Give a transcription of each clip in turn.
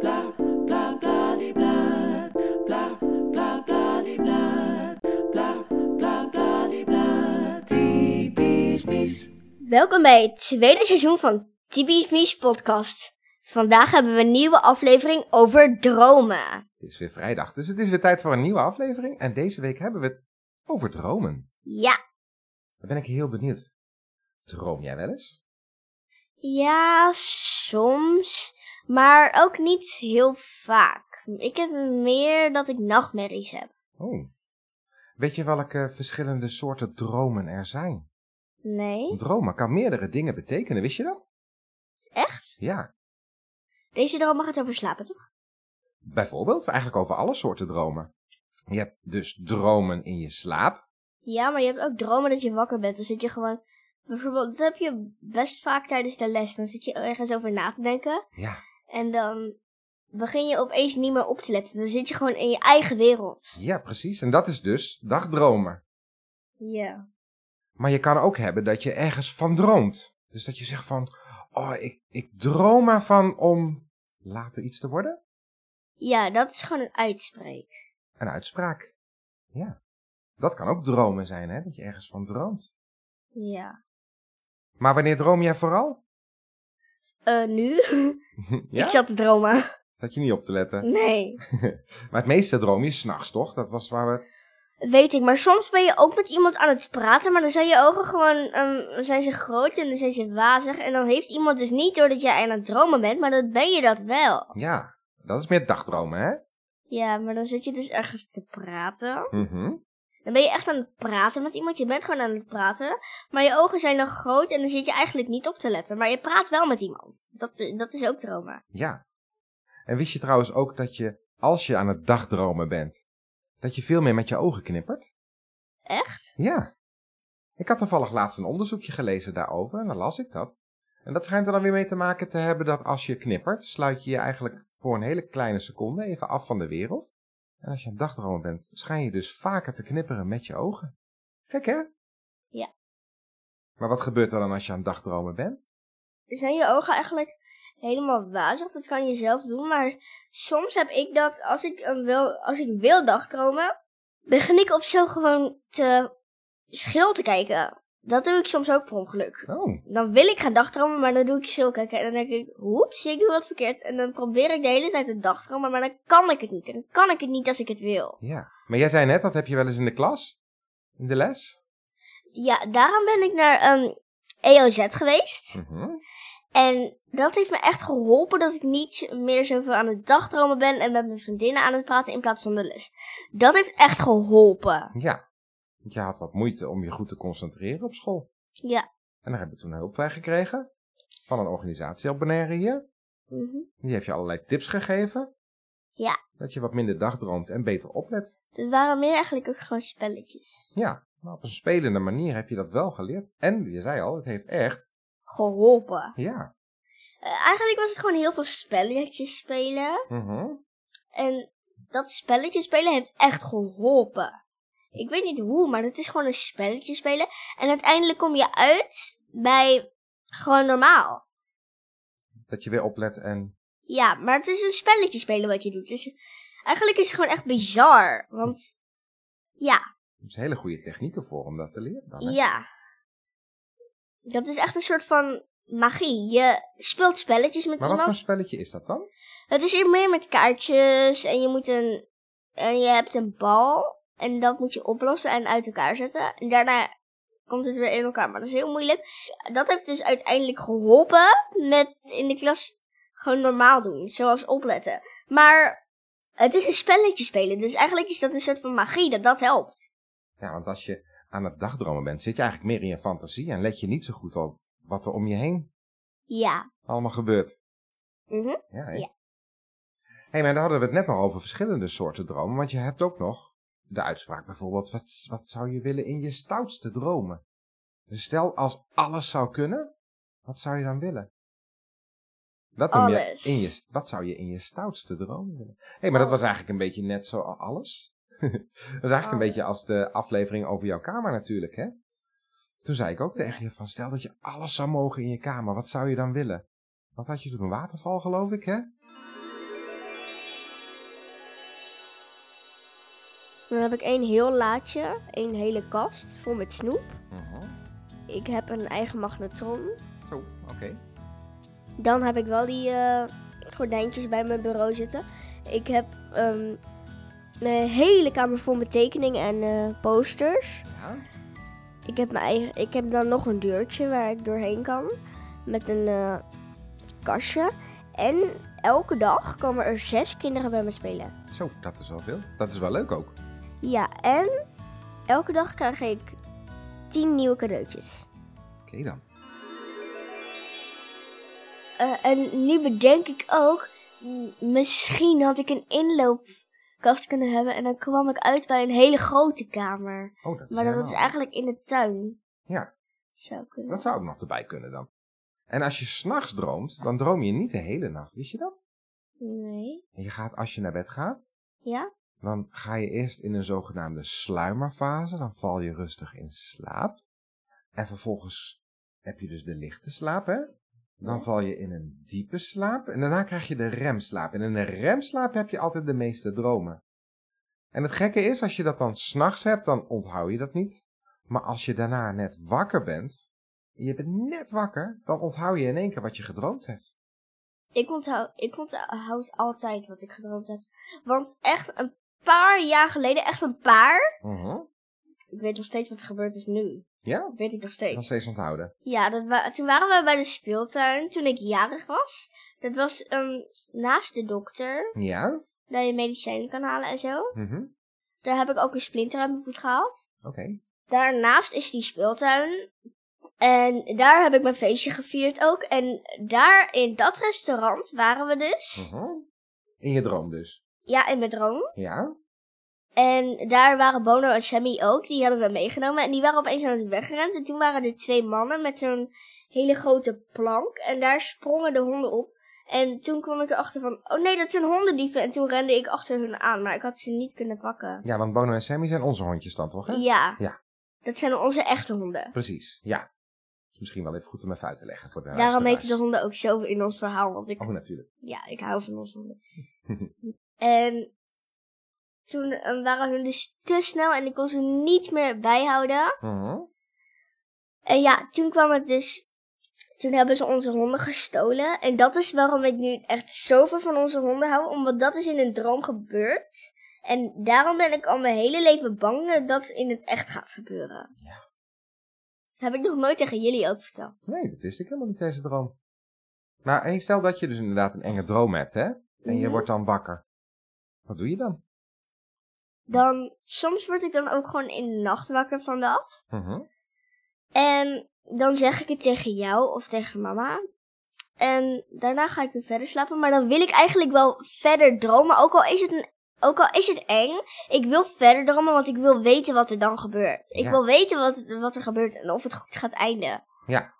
bla bla bla die bla bla bla bla die bla bla bla bla die bla typisch mies. Welkom bij het tweede seizoen van Typisch Mies podcast. Vandaag hebben we een nieuwe aflevering over dromen. Het is weer vrijdag, dus het is weer tijd voor een nieuwe aflevering. En deze week hebben we het over dromen. Ja. Daar ben ik heel benieuwd. Droom jij wel eens? Ja, soms. Maar ook niet heel vaak. Ik heb meer dat ik nachtmerries heb. Oh. Weet je welke verschillende soorten dromen er zijn? Nee? Dromen kan meerdere dingen betekenen, wist je dat? Echt? Ja. Deze dromen gaat over slapen, toch? Bijvoorbeeld, eigenlijk over alle soorten dromen. Je hebt dus dromen in je slaap. Ja, maar je hebt ook dromen dat je wakker bent. Dan zit je gewoon... Bijvoorbeeld, dat heb je best vaak tijdens de les. Dan zit je ergens over na te denken. Ja. En dan begin je opeens niet meer op te letten. Dan zit je gewoon in je eigen wereld. Ja, precies. En dat is dus dagdromen. Ja. Maar je kan ook hebben dat je ergens van droomt. Dus dat je zegt van, oh, ik, ik droom ervan om later iets te worden. Ja, dat is gewoon een uitspreek. Een uitspraak. Ja. Dat kan ook dromen zijn, hè? Dat je ergens van droomt. Ja. Maar wanneer droom jij vooral? Eh, nu? ja? Ik zat te dromen. Zat je niet op te letten. Nee. Maar het meeste droom je s'nachts, toch? Dat was waar we... Weet ik, maar soms ben je ook met iemand aan het praten, maar dan zijn je ogen gewoon, ehm, zijn ze groot en dan zijn ze wazig. En dan heeft iemand dus niet door dat jij aan het dromen bent, maar dan ben je dat wel. Ja, dat is meer dagdromen, hè? Ja, maar dan zit je dus ergens te praten. Mhm. Dan ben je echt aan het praten met iemand, je bent gewoon aan het praten, maar je ogen zijn dan groot en dan zit je eigenlijk niet op te letten. Maar je praat wel met iemand. Dat, dat is ook dromen. Ja. En wist je trouwens ook dat je, als je aan het dagdromen bent, dat je veel meer met je ogen knippert? Echt? Ja. Ik had toevallig laatst een onderzoekje gelezen daarover en dan las ik dat. En dat schijnt er dan weer mee te maken te hebben dat als je knippert, sluit je je eigenlijk voor een hele kleine seconde even af van de wereld. En als je een dagdromer bent, schijn je dus vaker te knipperen met je ogen. Gek hè? Ja. Maar wat gebeurt er dan als je aan het dagdromen bent? zijn je ogen eigenlijk helemaal wazig. Dat kan je zelf doen. Maar soms heb ik dat als ik, een wil, als ik wil dagdromen, begin ik op zo gewoon te schil te kijken. Dat doe ik soms ook per ongeluk. Oh, Dan wil ik gaan dagdromen, maar dan doe ik schil kijken. En dan denk ik, hoeps, ik doe wat verkeerd. En dan probeer ik de hele tijd te dagdromen, maar dan kan ik het niet. En dan kan ik het niet als ik het wil. ja. Maar jij zei net, dat heb je wel eens in de klas? In de les? Ja, daarom ben ik naar ehm EOZ geweest. Mhm. En dat heeft me echt geholpen dat ik niet meer zoveel aan het dagdromen ben en met mijn vriendinnen aan het praten in plaats van de les. Dat heeft echt geholpen. Ja. Want je had wat moeite om je goed te concentreren op school. Ja. En daar hebben we toen hulp bij gekregen. Van een organisatie op Bonaire hier. Die heeft je allerlei tips gegeven. Ja. Dat je wat minder dagdroomt en beter oplet. Het waren meer eigenlijk ook gewoon spelletjes. Ja, maar op een spelende manier heb je dat wel geleerd. En je zei al, het heeft echt. Geholpen. Ja. Eh, eigenlijk was het gewoon heel veel spelletjes spelen. mhm. En dat spelletjes spelen heeft echt geholpen. Ik weet niet hoe, maar het is gewoon een spelletje spelen. En uiteindelijk kom je uit bij gewoon normaal. Dat je weer oplet en. Ja, maar het is een spelletje spelen wat je doet. Dus eigenlijk is het gewoon echt bizar. Want ja, Er zijn dus hele goede technieken voor om dat te leren. Dan, hè? ja. Dat is echt een soort van magie. Je speelt spelletjes met Maar wat iemand. voor spelletje is dat dan? Het is hier meer met kaartjes en je moet een. En je hebt een bal. En dat moet je oplossen en uit elkaar zetten. En daarna komt het weer in elkaar. Maar dat is heel moeilijk. Dat heeft dus uiteindelijk geholpen met in de klas gewoon normaal doen. Zoals opletten. Maar het is een spelletje spelen. Dus eigenlijk is dat een soort van magie dat dat helpt. Ja, want als je aan het dagdromen bent, zit je eigenlijk meer in je fantasie en let je niet zo goed op wat er om je heen Ja. allemaal gebeurt. Mhm. Ja, hè? Ja. hey, maar daar hadden we het net nog over verschillende soorten dromen. Want je hebt ook nog de uitspraak bijvoorbeeld, wat, wat zou je willen in je stoutste dromen? Dus stel, als alles zou kunnen, wat zou je dan willen? Dat noem je Alles. in je, st- wat zou je in je stoutste dromen willen? Hé, hey, maar dat was eigenlijk een beetje net zo a- alles. dat is eigenlijk een Alles. beetje als de aflevering over jouw kamer natuurlijk, hè? Toen zei ik ook tegen je van, stel dat je alles zou mogen in je kamer, wat zou je dan willen? Wat had je toen, een waterval geloof ik, hè? Dan heb ik één heel laadje, één hele kast vol met snoep. Mhm. Ik heb een eigen magnetron. Zo, oké. Dan heb ik wel die eh, gordijntjes bij mijn bureau zitten. Ik heb ehm, mijn hele kamer vol met tekeningen en eh, posters. Ja. Ik heb, mijn eigen, ik heb dan nog een deurtje waar ik doorheen kan. Met een eh, kastje. En elke dag komen er zes kinderen bij me spelen. Zo, dat is wel veel. Dat is wel leuk ook. Ja, en elke dag krijg ik tien nieuwe cadeautjes. Oké dan. Eh, en nu bedenk ik ook, m- misschien had ik een inloopkast kunnen hebben en dan kwam ik uit bij een hele grote kamer. Oh, dat is Maar dat helemaal- is eigenlijk in de tuin. Ja. Zou kunnen. Dat zou ook nog erbij kunnen dan. En als je s'nachts droomt, dan droom je niet de hele nacht. Wist je dat? Nee. En je gaat, als je naar bed gaat, Ja? Dan ga je eerst in een zogenaamde sluimerfase. Dan val je rustig in slaap. En vervolgens heb je dus de lichte slaap, hè? Dan val je in een diepe slaap. En daarna krijg je de remslaap. En in de remslaap heb je altijd de meeste dromen. En het gekke is, als je dat dan s'nachts hebt, dan onthoud je dat niet. Maar als je daarna net wakker bent, en je bent net wakker, dan onthoud je in één keer wat je gedroomd hebt. Ik onthoud, ik onthoud altijd wat ik gedroomd heb. Want echt een paar jaar geleden, echt een paar. Mhm. Ik weet nog steeds wat er gebeurd is nu. Ja, Dat weet ik nog nog steeds. steeds onthouden. Ja, dat wa- toen waren we bij de speeltuin toen ik jarig was. Dat was ehm, naast de dokter, Ja? dat je medicijnen kan halen en zo. Mhm. Daar heb ik ook een splinter uit mijn voet gehaald. Oké. Daarnaast is die speeltuin. En daar heb ik mijn feestje gevierd ook. En daar in dat restaurant waren we dus. Mhm. In je droom dus. Ja, in mijn droom. Ja? En daar waren Bono en Sammy ook. Die hadden we meegenomen. En die waren opeens aan het weggerend. En toen waren er twee mannen met zo'n hele grote plank. En daar sprongen de honden op. En toen kwam ik erachter van, oh nee, dat zijn hondendieven. En toen rende ik achter hun aan. Maar ik had ze niet kunnen pakken. Ja, want Bono en Sammy zijn onze hondjes dan toch, hè? Ja. Ja. Dat zijn onze echte honden. Precies, ja. Is Misschien wel even goed om even uit te leggen voor de Daarom luisteraars. heten de honden ook zo in ons verhaal, want ik, Oh, natuurlijk. ja, ik hou van onze honden. en toen eh, waren hun dus te snel en ik kon ze niet meer bijhouden. Mhm. En ja, toen kwam het dus, toen hebben ze onze honden gestolen. En dat is waarom ik nu echt zoveel van onze honden hou, omdat dat is in een droom gebeurd. En daarom ben ik al mijn hele leven bang dat dat in het echt gaat gebeuren. Ja. Heb ik nog nooit tegen jullie ook verteld. Nee, dat wist ik helemaal niet, deze droom. Maar hey, stel dat je dus inderdaad een enge droom hebt, hè? En je Mhm. wordt dan wakker. Wat doe je dan? dan soms word ik dan ook gewoon in de nacht wakker van dat. Mhm. En dan zeg ik het tegen jou of tegen mama. En daarna ga ik weer verder slapen. Maar dan wil ik eigenlijk wel verder dromen. Ook al is het, een, ook al is het eng. Ik wil verder dromen, want ik wil weten wat er dan gebeurt. Ik Ja. wil weten wat, wat er gebeurt en of het goed gaat eindigen. Ja.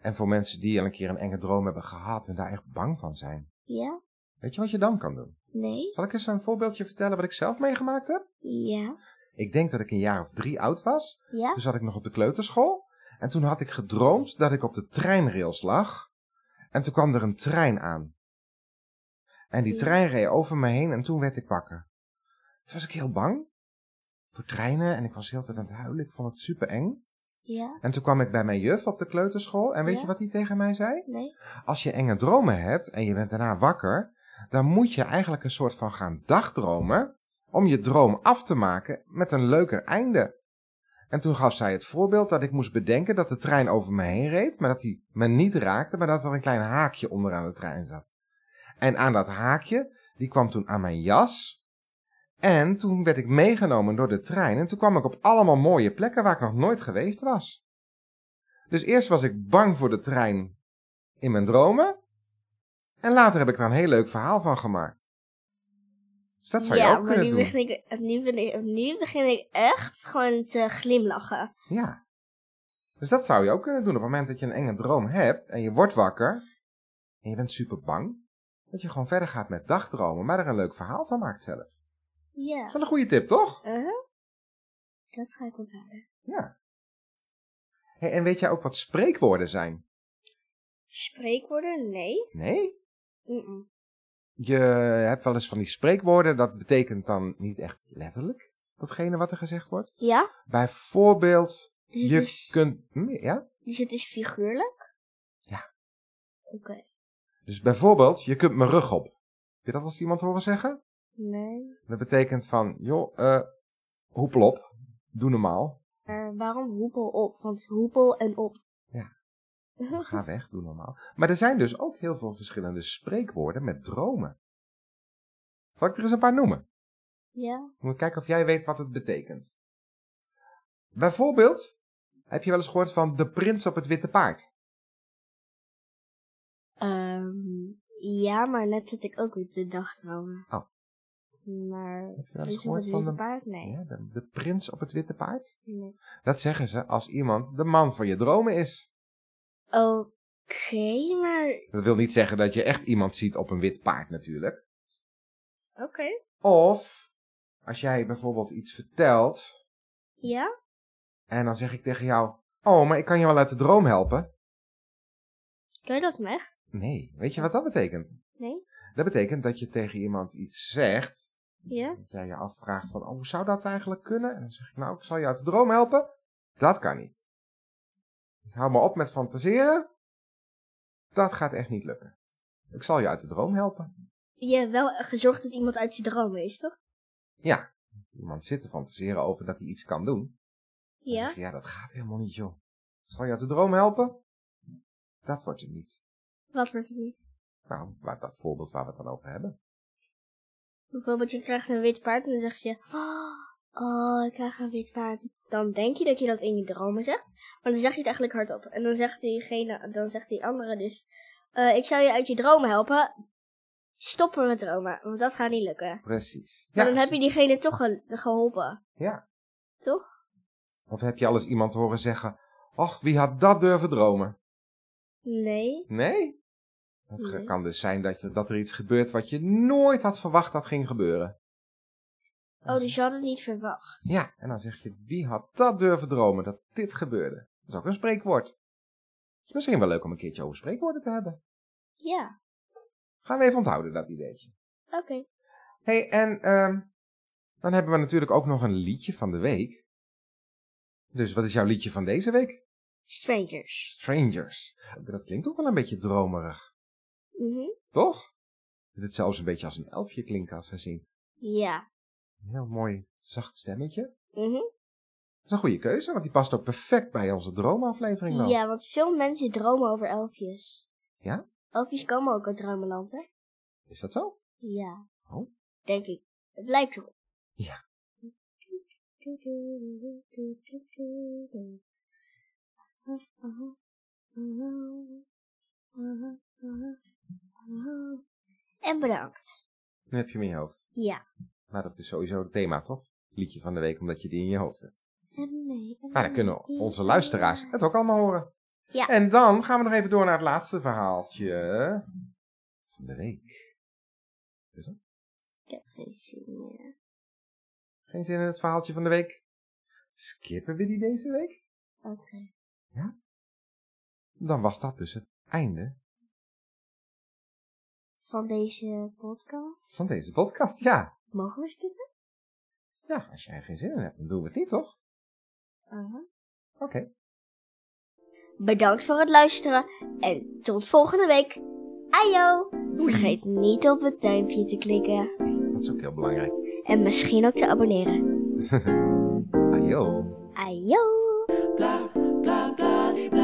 En voor mensen die al een keer een enge droom hebben gehad en daar echt bang van zijn. Ja? Weet je wat je dan kan doen? Nee? Zal ik eens een voorbeeldje vertellen wat ik zelf meegemaakt heb? Ja? Ik denk dat ik een jaar of drie oud was. Ja? Toen zat ik nog op de kleuterschool. En toen had ik gedroomd dat ik op de treinrails lag. En toen kwam er een trein aan. En die Ja. trein reed over me heen en toen werd ik wakker. Toen was ik heel bang voor treinen en ik was heel tijd aan het huilen. Ik vond het super eng. Ja? En toen kwam ik bij mijn juf op de kleuterschool. En weet Ja. je wat die tegen mij zei? Nee? Als je enge dromen hebt en je bent daarna wakker, dan moet je eigenlijk een soort van gaan dagdromen om je droom af te maken met een leuker einde. En toen gaf zij het voorbeeld dat ik moest bedenken dat de trein over me heen reed, maar dat die me niet raakte, maar dat er een klein haakje onderaan de trein zat. En aan dat haakje, die kwam toen aan mijn jas. En toen werd ik meegenomen door de trein en toen kwam ik op allemaal mooie plekken waar ik nog nooit geweest was. Dus eerst was ik bang voor de trein in mijn dromen. En later heb ik daar een heel leuk verhaal van gemaakt. Dus dat zou je ja, ook maar kunnen nu doen. begin, ik, nu, begin ik, nu begin ik echt gewoon te glimlachen. Ja. Dus dat zou je ook kunnen doen. Op het moment dat je een enge droom hebt en je wordt wakker en je bent super bang, dat je gewoon verder gaat met dagdromen, maar er een leuk verhaal van maakt zelf. Dat Ja. is wel een goede tip, toch? Uh-huh. Dat ga ik onthouden. Ja. Hey, en weet jij ook wat spreekwoorden zijn? Spreekwoorden? Nee. Nee? Mm-mm. Je hebt wel eens van die spreekwoorden, dat betekent dan niet echt letterlijk, datgene wat er gezegd wordt? Ja? Bijvoorbeeld, Dus het je is, kunt... hm, ja? dus het is figuurlijk? Ja. Oké. Dus bijvoorbeeld, je kunt mijn rug op. Heb je dat als iemand horen zeggen? Nee. Dat betekent van, joh, eh hoepel op. Doe normaal. Eh, waarom hoepel op? Want hoepel en op. Ja. Ga weg, doe normaal. Maar er zijn dus ook heel veel verschillende spreekwoorden met dromen. Zal ik er eens een paar noemen? ja. Moet ik kijken of jij weet wat het betekent. Bijvoorbeeld, heb je wel eens gehoord van de prins op het witte paard? Ehm, ja, maar net zat ik ook weer te dagdromen. Oh. Maar Heb je wel is eens het met gehoord van witte de, paard? Nee. ja, de, de prins op het witte paard? nee. Dat zeggen ze als iemand de man van je dromen is. Oké, maar... Dat wil niet zeggen dat je echt iemand ziet op een wit paard natuurlijk. Oké. Of als jij bijvoorbeeld iets vertelt Ja? en dan zeg ik tegen jou: Oh, maar ik kan je wel uit de droom helpen. Kan je dat dan echt? Nee, weet je wat dat betekent? Nee? Dat betekent dat je tegen iemand iets zegt Ja? Dat jij je afvraagt van, oh, hoe zou dat eigenlijk kunnen? En dan zeg ik, nou, ik zal je uit de droom helpen. Dat kan niet. Dus hou maar op met fantaseren. Dat gaat echt niet lukken. Ik zal je uit de droom helpen. Je hebt wel gezorgd dat iemand uit zijn dromen is, toch? Ja, iemand zit te fantaseren over dat hij iets kan doen. Dan zeg Ja? je, ja, dat gaat helemaal niet, joh. Ik zal je uit de droom helpen. Dat wordt het niet. Wat wordt het niet? Nou, waar dat voorbeeld waar we het dan over hebben. Bijvoorbeeld, je krijgt een wit paard en dan zeg je... "Oh, Oh, ik krijg een wit paard. Dan denk je dat je dat in je dromen zegt. Maar dan zeg je het eigenlijk hardop. En dan zegt diegene, dan zegt die andere dus... eh, ik zou je uit je dromen helpen. Stoppen met dromen, want dat gaat niet lukken. Precies. maar dan heb je diegene toch ge- geholpen, Ja. toch? Of heb je al eens iemand horen zeggen, ach, wie had dat durven dromen? Nee. Nee? Het ge- Nee. kan dus zijn dat, je, dat er iets gebeurt wat je nooit had verwacht dat ging gebeuren. Oh, dus je had het niet verwacht. Ja, en dan zeg je, wie had dat durven dromen dat dit gebeurde? Dat is ook een spreekwoord. Het is misschien wel leuk om een keertje over spreekwoorden te hebben. Ja, Gaan we even onthouden, dat ideetje. oké. Hé, hey, en ehm, dan hebben we natuurlijk ook nog een liedje van de week. Dus wat is jouw liedje van deze week? Strangers. Strangers. Dat klinkt ook wel een beetje dromerig, Mhm. toch? Dat het zelfs een beetje als een elfje klinkt als ze zingt. Ja. Een heel mooi zacht stemmetje. Dat Mhm. is een goede keuze, want die past ook perfect bij onze droomaflevering dan. Ja, want veel mensen dromen over elfjes. Ja? Elfjes komen ook uit Dromenland, hè? Is dat zo? Ja. Oh. Denk ik. Het lijkt erop. Ja. En bedankt. Nu heb je hem in je hoofd. Ja. Maar dat is sowieso het thema, toch? Liedje van de week, omdat je die in je hoofd hebt. En nee. en Maar Nou, dan Ah, kunnen nee. onze luisteraars het ook allemaal horen. Ja. En dan gaan we nog even door naar het laatste verhaaltje van de week. Ik heb geen zin meer. Geen zin in het verhaaltje van de week? Skippen we die deze week? Oké. Dan was dat dus het einde Van deze podcast. van deze podcast. Ja, Mogen we skippen? ja als jij er geen zin in hebt, dan doen we het niet, toch? Aha. Oké. Bedankt voor het luisteren en tot volgende week. Ajo! Vergeet niet op het duimpje te klikken Dat is ook heel belangrijk. en misschien ook te abonneren. Ajo. Ajo! blah blah blah blah